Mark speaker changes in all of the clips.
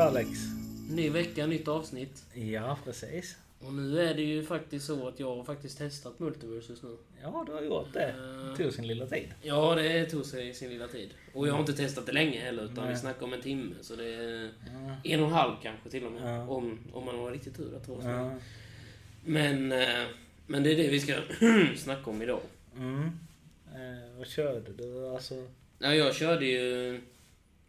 Speaker 1: Alex?
Speaker 2: Ny vecka, nytt avsnitt.
Speaker 1: Ja, precis.
Speaker 2: Och nu är det ju faktiskt så att jag har faktiskt testat Multiversus nu.
Speaker 1: Ja, du har gjort det. Det tog sin lilla tid.
Speaker 2: Ja, det tog sig sin lilla tid. Och jag har inte testat det länge heller, utan
Speaker 1: Nej.
Speaker 2: vi snackar om en timme. Så det är en och en halv kanske till och med. Om, om man har riktigt tur att vara
Speaker 1: Ja.
Speaker 2: men, eh, men det är det vi ska snacka om idag.
Speaker 1: Mm. Eh, vad körde du? Alltså...
Speaker 2: Ja, jag körde ju...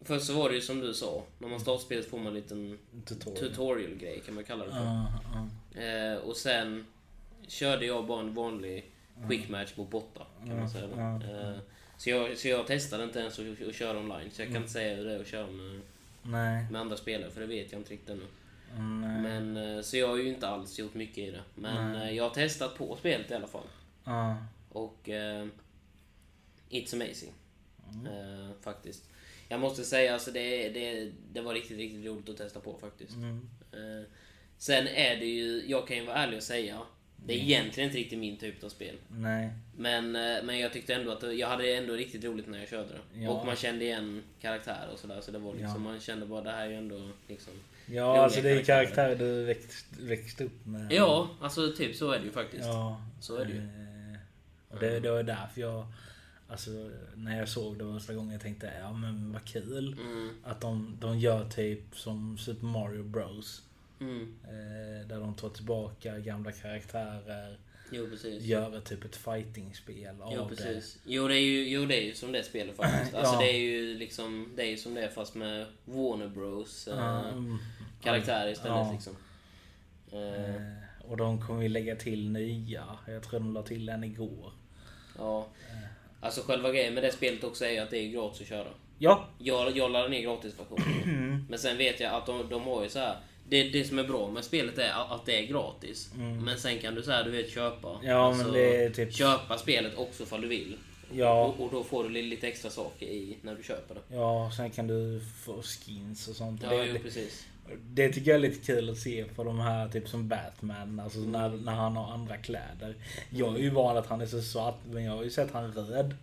Speaker 2: Först så var det ju som du sa. När man startar spelet får man en liten
Speaker 1: Tutorial.
Speaker 2: tutorial-grej, kan man kalla det för.
Speaker 1: Ja, ja.
Speaker 2: Eh, och sen körde jag bara en vanlig quick match mot botta kan man säga. då. Eh, så, jag, så jag testade inte ens att, att köra online. Så jag kan inte säga hur det är att köra med,
Speaker 1: Nej.
Speaker 2: med andra spelare för det vet jag inte riktigt ännu.
Speaker 1: Nej.
Speaker 2: Men, eh, så jag har ju inte alls gjort mycket i det. Men eh, jag har testat på spelet i alla fall.
Speaker 1: Ja.
Speaker 2: Och eh, It's amazing. Eh, faktiskt. Jag måste säga alltså det, det, det var riktigt, riktigt roligt att testa på faktiskt.
Speaker 1: Mm.
Speaker 2: Eh, sen är det ju, jag kan ju vara ärlig och säga, det
Speaker 1: Mm.
Speaker 2: är egentligen inte riktigt min typ av spel.
Speaker 1: Nej.
Speaker 2: Men, eh, men jag tyckte ändå att det- jag hade ändå riktigt roligt när jag körde det.
Speaker 1: Ja.
Speaker 2: Och man kände igen karaktärer och sådär. Så det var liksom, man kände bara det här är ju ändå liksom...
Speaker 1: Ja,
Speaker 2: roliga
Speaker 1: alltså det är karaktärer du växt, växte upp med.
Speaker 2: Ja, alltså typ så är det ju faktiskt.
Speaker 1: Ja.
Speaker 2: Så är det ju.
Speaker 1: Eh, Och det, det var därför jag... Alltså, när jag såg det första gången jag tänkte jag, ja men vad kul.
Speaker 2: Mm.
Speaker 1: Att de, de gör typ som Super Mario Bros.
Speaker 2: Mm.
Speaker 1: Eh, där de tar tillbaka gamla karaktärer.
Speaker 2: Jo, precis.
Speaker 1: Göra typ ett fightingspel av
Speaker 2: Jo,
Speaker 1: det.
Speaker 2: precis. Jo det, är ju, jo, det är ju som det spelet faktiskt. Alltså,
Speaker 1: Ja.
Speaker 2: det, är ju liksom, det är ju som det är fast med Warner Bros eh,
Speaker 1: Mm.
Speaker 2: karaktär istället.
Speaker 1: Ja.
Speaker 2: Liksom. Eh,
Speaker 1: Eh, och de kommer ju lägga till nya. Jag tror de la till en igår.
Speaker 2: ja. Alltså själva grejen med det spelet också är ju att det är gratis att köra.
Speaker 1: Ja!
Speaker 2: Jag, jag laddade ner
Speaker 1: Mm.
Speaker 2: gratisversionen. Men sen vet jag att de, de har ju så här. Det, det som är bra med spelet är att att det är gratis. Men sen kan du så här, du vet köpa.
Speaker 1: Mm.
Speaker 2: Alltså,
Speaker 1: Ja, men det är typ-
Speaker 2: Köpa spelet också ifall du vill.
Speaker 1: Ja.
Speaker 2: Och, och då får du lite extra saker i när du köper det.
Speaker 1: Ja, sen kan du få skins och sånt.
Speaker 2: Ja,
Speaker 1: det,
Speaker 2: jo,
Speaker 1: det-
Speaker 2: precis.
Speaker 1: Det tycker jag är lite kul att se på de här, typ som Batman, alltså
Speaker 2: Mm.
Speaker 1: när, när han har andra kläder. Jag är ju van att han är så svart, men jag har ju sett han röd.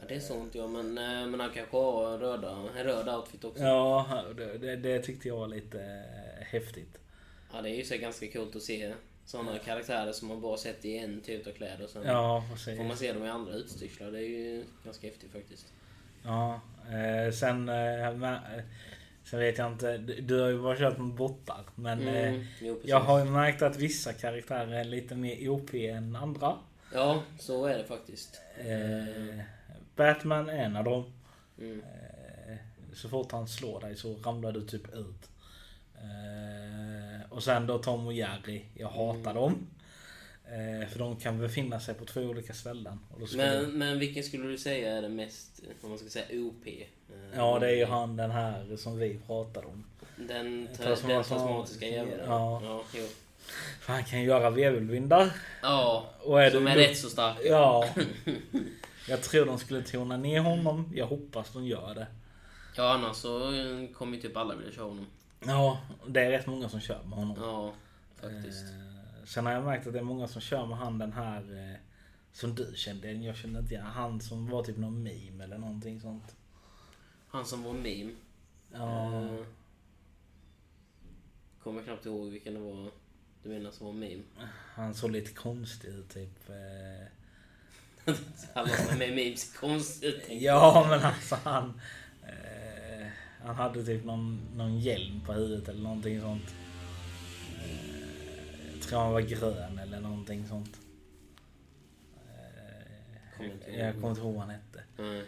Speaker 2: Ja, det är sånt ja, men, eh, men han kanske har röda, en röd outfit också. Ja.
Speaker 1: Ja, det, det, det tyckte jag var lite eh, häftigt.
Speaker 2: det är ju så ganska coolt att se sådana karaktärer som man bara sett i en typ av kläder och sen
Speaker 1: Ja, precis.
Speaker 2: får man se dem i andra utstyrslar. Det är ju ganska häftigt faktiskt.
Speaker 1: Ja, eh, sen, eh, mä- eh, sen vet jag inte, du, du har ju bara kört med bottar. Men
Speaker 2: Mm,
Speaker 1: eh,
Speaker 2: jo, precis.
Speaker 1: jag har ju märkt att vissa karaktärer är lite mer OP än andra.
Speaker 2: Ja, så är det faktiskt.
Speaker 1: Eh, Batman är en av dem.
Speaker 2: Mm.
Speaker 1: Eh, Så fort han slår dig så ramlar du typ ut. Eh, Och sen då Tom och Jerry. Jag
Speaker 2: Mm.
Speaker 1: hatar dem. Eh, För de kan befinna sig på två olika ställen. Och då ska
Speaker 2: Men,
Speaker 1: du-
Speaker 2: men vilken skulle du säga är den mest, om man ska säga OP? Eh,
Speaker 1: Ja det är ju han den här som vi pratade om.
Speaker 2: Den, ta-
Speaker 1: Tasman-
Speaker 2: den tasmatiska djävulen.
Speaker 1: Ja.
Speaker 2: Ja, jo.
Speaker 1: För han kan göra virvelvindar.
Speaker 2: ja
Speaker 1: Och är
Speaker 2: som
Speaker 1: du
Speaker 2: är
Speaker 1: nog-
Speaker 2: rätt så stark.
Speaker 1: Ja. Jag tror de skulle tona ner honom. Jag hoppas de gör det.
Speaker 2: Ja, annars så eh, kommer ju typ alla vilja köra honom.
Speaker 1: Ja, det är rätt många som kör med honom.
Speaker 2: Ja, faktiskt.
Speaker 1: Eh, Sen har jag märkt att det är många som kör med han den här eh, som du kände igen. Jag kände inte igen han som var typ någon meme eller någonting sånt.
Speaker 2: Han som var meme.
Speaker 1: Ja,
Speaker 2: Eh, Kommer knappt ihåg vilken det var. Du menar som var meme?
Speaker 1: han såg lite konstig ut typ. eh.
Speaker 2: Alla som är med i memes är konstigt. tänkte jag.
Speaker 1: Ja men alltså han. eh, Han hade typ någon, någon hjälm på huvudet eller någonting sånt. Eh, Jag tror han var grön eller någonting sånt. Eh,
Speaker 2: Kommer inte ihåg.
Speaker 1: Jag kommer inte ihåg vad han hette.
Speaker 2: Nej.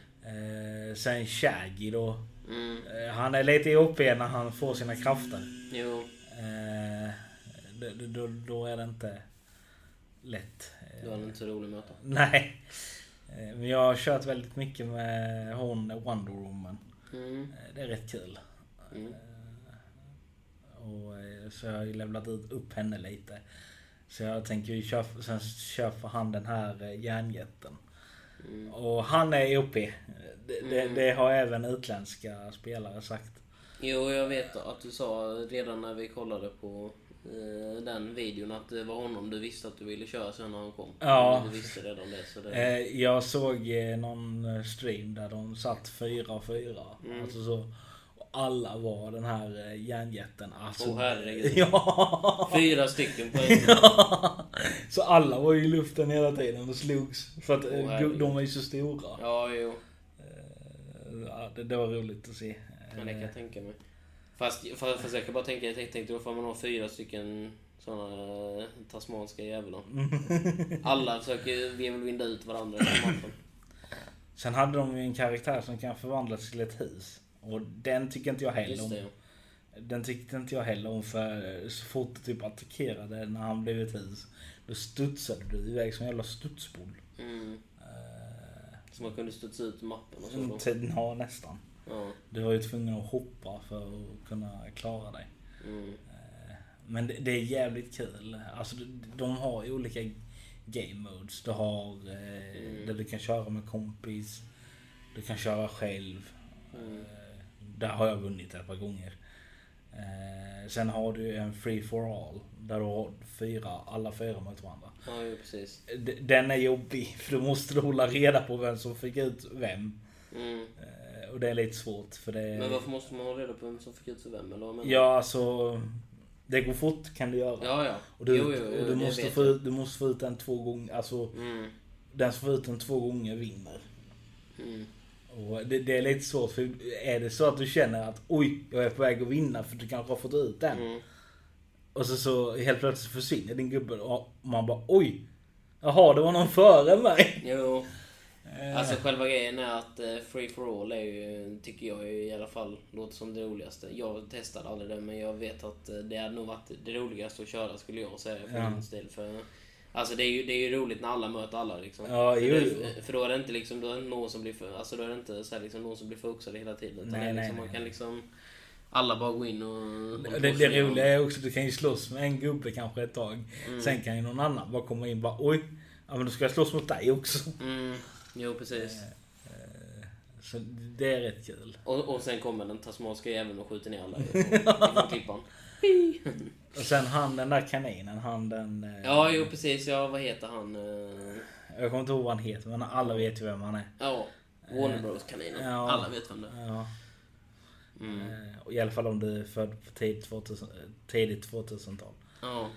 Speaker 1: Eh, Sen Shaggy då.
Speaker 2: Mm,
Speaker 1: Eh, Han är lite OP när han får sina krafter.
Speaker 2: jo,
Speaker 1: Eh, då- då- Då, då är det inte lätt. Eh,
Speaker 2: det var inte så rolig att möta.
Speaker 1: Nej. Eh, Men jag har kört väldigt mycket med hon Wonder Woman.
Speaker 2: Mm,
Speaker 1: Eh, Det är rätt kul.
Speaker 2: mm.
Speaker 1: Och eh, så jag har ju levlat ut- upp henne lite. Så jag tänker ju köpa, sen köper han den här eh, järnjätten.
Speaker 2: Mm.
Speaker 1: Och han är OP. Eh, Det, det, det har även utländska spelare sagt.
Speaker 2: Jo, jag vet att du sa redan när vi kollade på eh, den videon att det var honom du visste att du ville köra sen när han kom.
Speaker 1: Ja.
Speaker 2: Men Du visste redan det. Så det...
Speaker 1: Eh,
Speaker 2: Mm.
Speaker 1: Jag såg eh, någon stream där de satt fyra och fyra. Alltså så, alla var den här eh, järnjätten. Alltså,
Speaker 2: Åh, herregud.
Speaker 1: ja.
Speaker 2: Fyra stycken på en.
Speaker 1: Så alla var ju i luften hela tiden och slogs. För att eh,
Speaker 2: Åh, herregud.
Speaker 1: de var ju så stora.
Speaker 2: Ja, jo.
Speaker 1: Eh, Ja, det, det var roligt att se.
Speaker 2: Men det kan
Speaker 1: Eh.
Speaker 2: jag tänka mig. Fast, fast, fast jag kan bara tänka, jag tänkte, tänkte då får man ha fyra stycken såna eh, tasmanska djävlar.
Speaker 1: Mm.
Speaker 2: Alla försöker virvelvinda ut varandra i mappen.
Speaker 1: Sen hade de ju en karaktär som kan förvandlas till ett hus. Och den tycker inte jag heller
Speaker 2: Just
Speaker 1: om.
Speaker 2: det, ja.
Speaker 1: Den tyckte inte jag heller om för så fort du typ attackerade när han blev ett hus. Då studsade du iväg som en jävla studsboll.
Speaker 2: Mm.
Speaker 1: Eh.
Speaker 2: Så man kunde studsa ut mappen och så. då.
Speaker 1: Inte- Ja, nästan.
Speaker 2: Ja.
Speaker 1: Du var ju tvungen att hoppa för att kunna klara dig.
Speaker 2: Mm.
Speaker 1: Men det, det är jävligt kul. Alltså, de- de har ju olika game modes. Du har eh, där du kan köra med kompis. Du kan köra själv. Eh, där har jag vunnit ett par gånger. Eh, sen har du en free for all. Där du har fyra, alla fyra mot varandra.
Speaker 2: ja, ju precis.
Speaker 1: D- Den är jobbig för då måste du hålla reda på vem som fick ut vem.
Speaker 2: Mm.
Speaker 1: Eh, och det är lite svårt för det...
Speaker 2: Men varför måste man ha reda på vem som fick ut för vem? Eller vad menar du?
Speaker 1: Ja, alltså... Det går fort kan du göra.
Speaker 2: Ja, ja.
Speaker 1: Och du,
Speaker 2: jo, jo, jo,
Speaker 1: och du,
Speaker 2: det
Speaker 1: måste
Speaker 2: vet
Speaker 1: få
Speaker 2: jag.
Speaker 1: ut, du måste få ut den två gånger. Alltså,
Speaker 2: Mm.
Speaker 1: den som får ut den två gånger vinner.
Speaker 2: Mm.
Speaker 1: Och det, det är lite svårt för är det så att du känner att oj, jag är på väg att vinna för du kanske har fått ut den.
Speaker 2: Mm.
Speaker 1: Och så, så helt plötsligt försvinner din gubbe och man bara oj, jaha det var någon före mig.
Speaker 2: Jo. Alltså själva grejen är att eh, Free For All är ju, tycker jag ju i alla fall, låter som det roligaste. Jag testade aldrig det men jag vet att eh, det hade nog varit det roligaste att köra skulle jag säga för
Speaker 1: Ja.
Speaker 2: min stil. För, alltså det är, ju, det är ju roligt när alla möter alla liksom.
Speaker 1: Ja,
Speaker 2: för,
Speaker 1: jo,
Speaker 2: det- för då är det inte liksom då är det någon som blir för, alltså då är det inte så här, liksom, någon som blir fuxad hela tiden. Utan
Speaker 1: Nej,
Speaker 2: det är
Speaker 1: nej,
Speaker 2: liksom,
Speaker 1: nej.
Speaker 2: man kan liksom alla bara gå in och... hålla
Speaker 1: Det,
Speaker 2: på och
Speaker 1: det
Speaker 2: slänga
Speaker 1: roliga är också att du kan ju slåss med en gubbe kanske ett tag.
Speaker 2: Mm.
Speaker 1: Sen kan ju någon annan bara komma in och bara oj, ja men då ska jag slåss mot dig också.
Speaker 2: dem. Mm, jo precis.
Speaker 1: Så det är rätt kul.
Speaker 2: Och, och sen kommer den tasmanska jäveln och skjuter ner alla ifrån ifrån klippan.
Speaker 1: Och sen han den där kaninen, han den... eh,
Speaker 2: Ja, jo precis. Ja, vad heter han? Eh,
Speaker 1: Jag kommer inte ihåg vad han heter men alla vet ju vem han är.
Speaker 2: Ja, Warner Bros kaninen.
Speaker 1: Eh, ja.
Speaker 2: Alla vet vem det är.
Speaker 1: Ja.
Speaker 2: Mm.
Speaker 1: Eh, och I alla fall om du är född på tidigt 2000, eh, tidigt 2000-tal.
Speaker 2: Ja.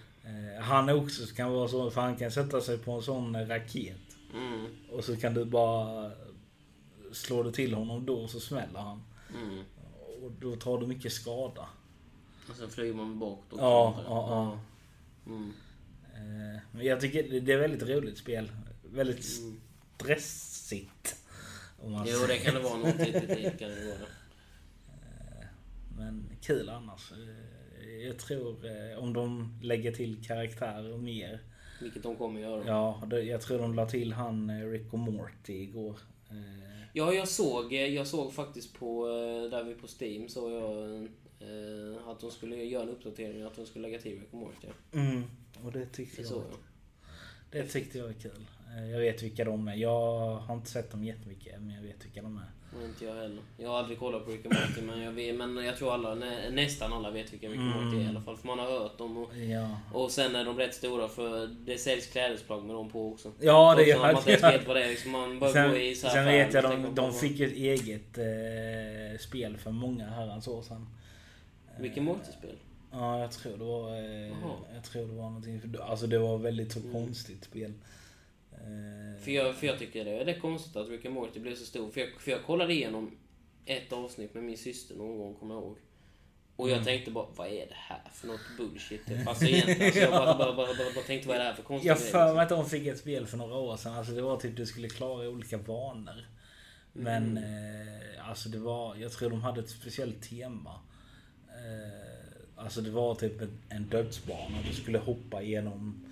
Speaker 1: Eh, Han är också kan vara så, för han kan sätta sig på en sån raket.
Speaker 2: Mm.
Speaker 1: Och så kan du bara... Slår du till honom då så smäller han.
Speaker 2: Mm.
Speaker 1: Och då tar du mycket skada.
Speaker 2: Och sen flyger man bakåt också.
Speaker 1: Ja, ja, ja.
Speaker 2: Mm.
Speaker 1: Eh, Men jag tycker det- det är väldigt roligt spel. Väldigt stressigt. Om man
Speaker 2: Mm. Jo, det kan det vara. Något litet i kan det vara.
Speaker 1: Men kul annars. Eh, Jag tror eh, om de lägger till karaktärer och mer.
Speaker 2: Vilket de kommer göra. Ja.
Speaker 1: Ja, det- jag tror de la till han eh, Rick och Morty igår. Eh,
Speaker 2: jag såg, jag såg faktiskt på, eh, där vi på Steam, såg jag eh, att de skulle göra en uppdatering, att de skulle lägga till Rick och Morty.
Speaker 1: Mm, och det tyckte
Speaker 2: Det såg
Speaker 1: jag.
Speaker 2: jag.
Speaker 1: Det tyckte jag var kul. Eh, Jag vet vilka de är. Jag har inte sett dem jättemycket, men jag vet vilka de är.
Speaker 2: Och inte jag heller. Jag har aldrig kollat på Rick and Morty men jag, vet, men jag tror alla, nä, nästan alla vet vilka Rick and Morty är i alla fall. För man har hört dem och,
Speaker 1: Ja,
Speaker 2: och sen är de rätt stora för det säljs klädesplagg med dem på också.
Speaker 1: ja det
Speaker 2: Trots
Speaker 1: gör
Speaker 2: att man inte ens
Speaker 1: jag.
Speaker 2: vet vad det är. Liksom man bara
Speaker 1: Sen,
Speaker 2: går i så här
Speaker 1: sen
Speaker 2: affärer
Speaker 1: vet jag
Speaker 2: och tänker
Speaker 1: de, de
Speaker 2: på-
Speaker 1: fick ju ett eget eh, spel för många herrans år sedan.
Speaker 2: Rick and Morty-spel?
Speaker 1: Ja, jag tror det var... Eh,
Speaker 2: Jaha. Mm.
Speaker 1: jag tror det var någonting... För, alltså det var väldigt så konstigt spel. Eh,
Speaker 2: För jag, för jag tycker det, det är konstigt att Rick and Morty blev så stor. För jag, för jag kollade igenom ett avsnitt med min syster någon gång, kommer jag ihåg. Och
Speaker 1: Mm.
Speaker 2: jag tänkte bara, vad är det här för något bullshit? typ? Alltså egentligen, alltså, jag bara, bara, bara, bara, bara tänkte vad är det här för konstigt?
Speaker 1: jag för mig att de fick ett spel för några år sedan. Alltså det var typ du skulle klara olika banor. Men
Speaker 2: Mm.
Speaker 1: eh, alltså det var... Jag tror de hade ett speciellt tema. Eh, alltså det var typ en, en dödsbana. Du skulle hoppa igenom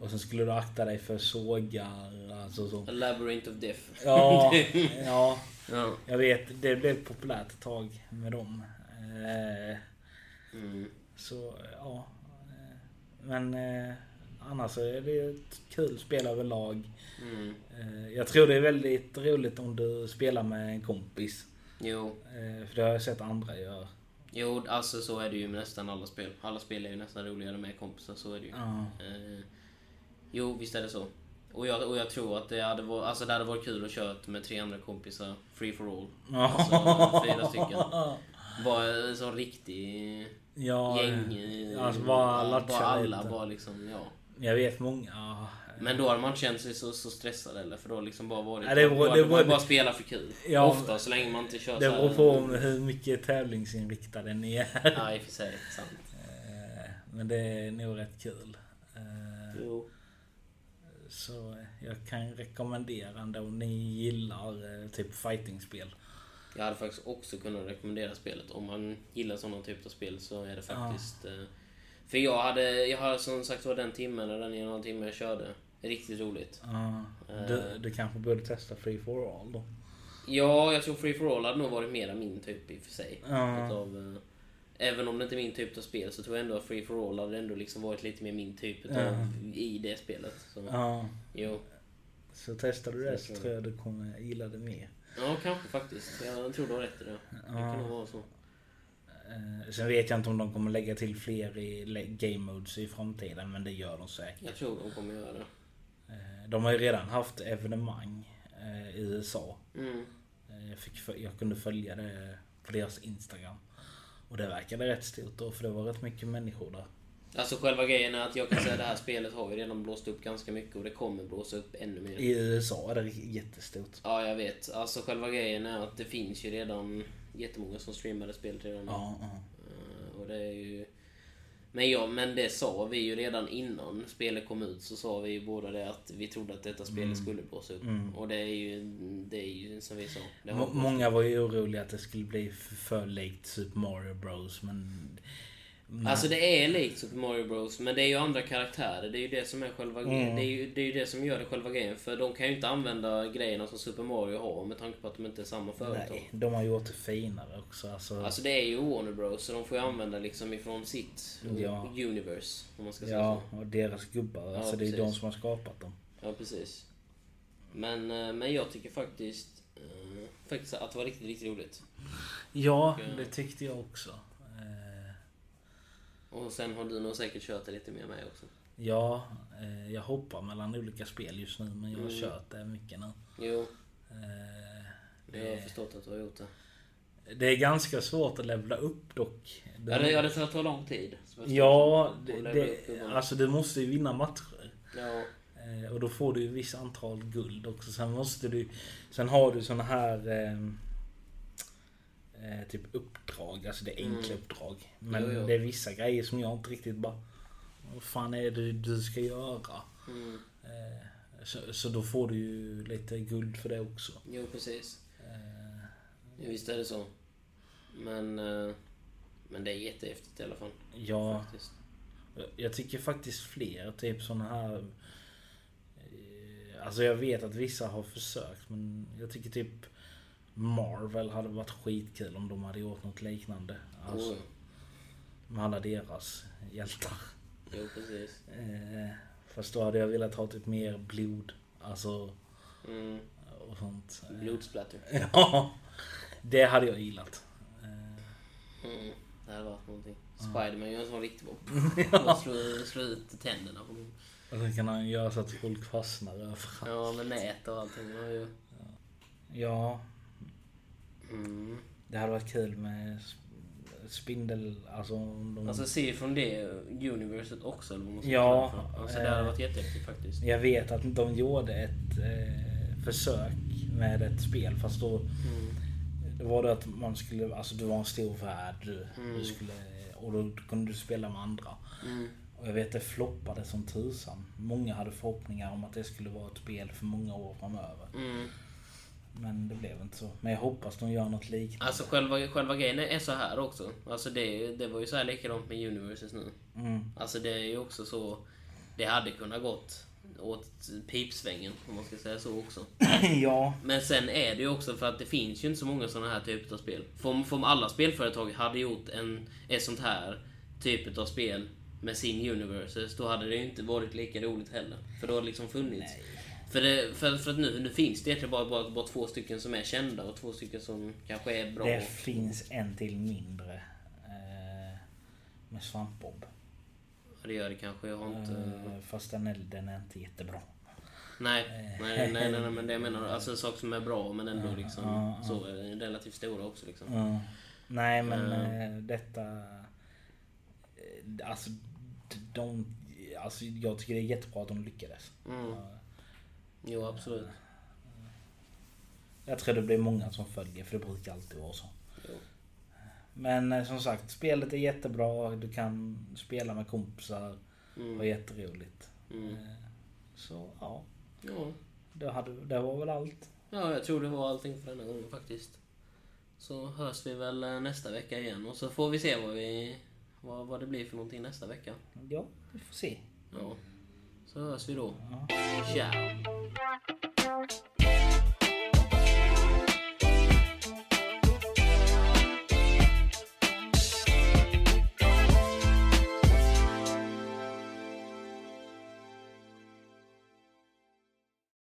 Speaker 1: och sen skulle du akta dig för sågar. Alltså så.
Speaker 2: A Labyrinth of Death.
Speaker 1: Ja, ja.
Speaker 2: ja.
Speaker 1: Jag vet, det blev populärt ett tag med dem. Eh,
Speaker 2: Mm.
Speaker 1: Så ja. eh, Men eh, annars är det ju ett kul spel överlag.
Speaker 2: Mm.
Speaker 1: Eh, jag tror det är väldigt roligt om du spelar med en kompis.
Speaker 2: Jo.
Speaker 1: Eh, för det har jag sett andra göra.
Speaker 2: jo, alltså så är det ju med nästan alla spel. Alla spel är ju nästan roligare med kompisar, så är det ju.
Speaker 1: Ja.
Speaker 2: Eh, jo, visst är det så. Och jag, och jag tror att det hade, varit, alltså det hade varit kul att köra ett med tre andra kompisar, free for all. Alltså fyra stycken. Var en sån riktig
Speaker 1: Ja,
Speaker 2: gäng... eh,
Speaker 1: alltså bara
Speaker 2: ja,
Speaker 1: latcha
Speaker 2: bara alla
Speaker 1: lite.
Speaker 2: bara liksom, ja.
Speaker 1: Jag vet många. ja.
Speaker 2: Men då hade man inte känt sig så, så stressad eller för då har liksom bara varit...
Speaker 1: Ja, det
Speaker 2: då
Speaker 1: var-
Speaker 2: hade
Speaker 1: det
Speaker 2: man
Speaker 1: var-
Speaker 2: bara spelat för kul.
Speaker 1: Ja,
Speaker 2: Ofta, så länge man inte kör
Speaker 1: Det
Speaker 2: så här-
Speaker 1: beror på om hur mycket tävlingsinriktad den är.
Speaker 2: Ja, i och för sig. Sant.
Speaker 1: Eh, Men det är nog rätt kul. Eh,
Speaker 2: Jo.
Speaker 1: Så jag kan rekommendera ändå om ni gillar eh, typ fightingspel.
Speaker 2: Jag hade faktiskt också kunnat rekommendera spelet. Om man gillar sådana typer av spel så är det faktiskt... eh, För jag hade, jag hade som sagt var den timmen, eller den en och en timme jag körde. Riktigt roligt.
Speaker 1: Ja, Du, du kanske borde testa Free for All då.
Speaker 2: Ja, jag tror Free For All hade nog varit mera min typ i och för sig.
Speaker 1: Ja.
Speaker 2: Utav, eh, även om det inte är min typ av spel så tror jag ändå att Free For All hade ändå liksom varit lite mer min typ utav, i det spelet. Så,
Speaker 1: Ja,
Speaker 2: Jo.
Speaker 1: så testar du det så
Speaker 2: Så-
Speaker 1: tror jag du kommer gilla det mer.
Speaker 2: Ja, kanske faktiskt. Jag tror du har rätt i det. Det kan nog vara så.
Speaker 1: Eh, Sen vet jag inte om de kommer lägga till fler i le- game modes i framtiden men det gör de säkert.
Speaker 2: Jag tror de kommer göra det.
Speaker 1: Eh, De har ju redan haft evenemang eh, i USA.
Speaker 2: Mm.
Speaker 1: Eh, Jag, fick, fö- jag kunde följa det på deras Instagram. Och det verkade rätt stort då för det var rätt mycket människor där.
Speaker 2: Alltså själva grejen är att jag kan säga att det här spelet har ju redan blåst upp ganska mycket och det kommer blåsa upp ännu mer.
Speaker 1: I USA är det jättestort.
Speaker 2: Ja, jag vet. Alltså själva grejen är att det finns ju redan jättemånga som streamade spelet redan nu.
Speaker 1: Ja, ja.
Speaker 2: Eh, Och det är ju... Men, ja, men det sa vi ju redan innan spelet kom ut så sa vi ju båda det att vi trodde att detta
Speaker 1: Mm.
Speaker 2: spelet skulle blåsa upp. Och det är ju, det är ju som vi sa. Det har
Speaker 1: Må- Många var ju oroliga att det skulle bli f- för likt Super Mario Bros men...
Speaker 2: Alltså det är likt Super Mario Bros men det är ju andra karaktärer. Det är ju det som är själva
Speaker 1: Mm.
Speaker 2: grejen. Det, är ju, det är ju det som gör det själva grejen. För de kan ju inte använda grejerna som Super Mario har med tanke på att de inte är samma företag.
Speaker 1: Nej, de har gjort det finare också. Alltså,
Speaker 2: Alltså det är ju Warner Bros så de får ju använda liksom ifrån sitt
Speaker 1: Ja.
Speaker 2: universe. Om man ska säga
Speaker 1: ja, och deras gubbar. alltså det är
Speaker 2: precis.
Speaker 1: de som har skapat dem.
Speaker 2: så. Ja precis. Men, eh, men jag tycker faktiskt, eh, faktiskt att det var riktigt, riktigt roligt.
Speaker 1: Ja, det tyckte jag också. Eh,
Speaker 2: Och sen har du nog säkert kört det lite mer med också.
Speaker 1: Ja, eh, jag hoppar mellan olika spel just nu men jag har
Speaker 2: Mm.
Speaker 1: kört det mycket nu.
Speaker 2: Jo,
Speaker 1: Eh,
Speaker 2: det har jag förstått att du har gjort det.
Speaker 1: Det är ganska svårt att levla upp dock. Det-
Speaker 2: Ja, det, ja, det tar tar lång tid. som jag förstår.
Speaker 1: Ja,
Speaker 2: Att
Speaker 1: det,
Speaker 2: levla upp
Speaker 1: det,
Speaker 2: gubbarna.
Speaker 1: alltså du måste ju vinna matcher.
Speaker 2: Ja,
Speaker 1: Eh, Och då får du ju visst antal guld också. Sen måste du... Sen har du såna här... ehm, Eh, typ uppdrag. Alltså det är enkla uppdrag. Men
Speaker 2: Mm. Jo, jo.
Speaker 1: det är vissa grejer som jag inte riktigt bara... Vad fan är det du ska göra?
Speaker 2: mm.
Speaker 1: Eh, så, så då får du ju lite guld för det också.
Speaker 2: jo precis.
Speaker 1: Eh,
Speaker 2: Jo, visst är det så. Men, eh, men det är jättehäftigt i alla fall.
Speaker 1: ja,
Speaker 2: Faktiskt.
Speaker 1: jag tycker faktiskt fler typ såna här... eh, Alltså jag vet att vissa har försökt men jag tycker typ Marvel hade varit skitkul om de hade gjort något liknande. Alltså,
Speaker 2: Jo,
Speaker 1: Med alla deras hjältar.
Speaker 2: jo, precis.
Speaker 1: Eh, fast då hade jag velat ha typ mer blod. Alltså
Speaker 2: Mm.
Speaker 1: och sånt. Eh,
Speaker 2: Blodsplatter.
Speaker 1: Ja. Det hade jag gillat. Eh,
Speaker 2: Mm. Det hade varit någonting. Spiderman gör en sån riktig bara... Och slår, slår ut tänderna på dem.
Speaker 1: Och sen kan han göra så att folk fastnar överallt.
Speaker 2: Ja, med nät och allting. Ja, ju.
Speaker 1: Ja,
Speaker 2: Mm.
Speaker 1: det hade varit kul med s- spindel... Alltså om de...
Speaker 2: Alltså se från det universet också eller vad man ska
Speaker 1: Ja,
Speaker 2: kalla det för. Alltså det hade
Speaker 1: eh.
Speaker 2: varit jättehäftigt faktiskt.
Speaker 1: Jag vet att de gjorde ett eh, försök med ett spel fast då
Speaker 2: Mm.
Speaker 1: det var det att man skulle... Alltså du var en stor värld du,
Speaker 2: Mm.
Speaker 1: du skulle, och då kunde du spela med andra.
Speaker 2: Mm.
Speaker 1: Och jag vet det floppade som tusan. Många hade förhoppningar om att det skulle vara ett spel för många år framöver.
Speaker 2: Mm.
Speaker 1: Men det blev inte så. Men jag hoppas de gör något liknande.
Speaker 2: Alltså själva, själva grejen är så här också. Alltså det, det var ju så här likadant med Universes nu.
Speaker 1: Mm.
Speaker 2: Alltså det är ju också så... Det hade kunnat gått åt pipsvängen om man ska säga så också.
Speaker 1: ja.
Speaker 2: Men sen är det ju också för att det finns ju inte så många sådana här typer av spel. För om, för om alla spelföretag hade gjort en, ett sånt här typ av spel med sin universes, då hade det ju inte varit lika roligt heller. För då har det liksom funnits. För, det, för, för att nu, nu finns det egentligen bara, bara, bara två stycken som är kända och två stycken som kanske är bra.
Speaker 1: Det finns en till mindre. Eh, med svampbob.
Speaker 2: Ja, det gör det kanske. Jag har inte...
Speaker 1: Eh, fast den är, den är inte jättebra.
Speaker 2: Nej, nej, nej, nej, nej, men det jag menar. Alltså saker som är bra men ändå liksom så är relativt stora också liksom.
Speaker 1: Mm. Nej men eh, detta... eh, Alltså de... Alltså jag tycker det är jättebra att de lyckades.
Speaker 2: Mm.
Speaker 1: Ja.
Speaker 2: Jo, absolut.
Speaker 1: Jag tror det blir många som följer för det brukar alltid vara så.
Speaker 2: Jo.
Speaker 1: Men eh, som sagt, spelet är jättebra. Du kan spela med kompisar. Det var
Speaker 2: Mm.
Speaker 1: jätteroligt.
Speaker 2: Mm.
Speaker 1: Eh, Så ja,
Speaker 2: Ja.
Speaker 1: det, hade, det var väl allt.
Speaker 2: ja, jag tror det var allting för denna gången faktiskt. Så hörs vi väl eh, nästa vecka igen och så får vi se vad, vi, vad, vad det blir för någonting nästa vecka.
Speaker 1: Ja, vi får se.
Speaker 2: Ja. Så hörs vi då.
Speaker 1: Ja.
Speaker 2: Ciao!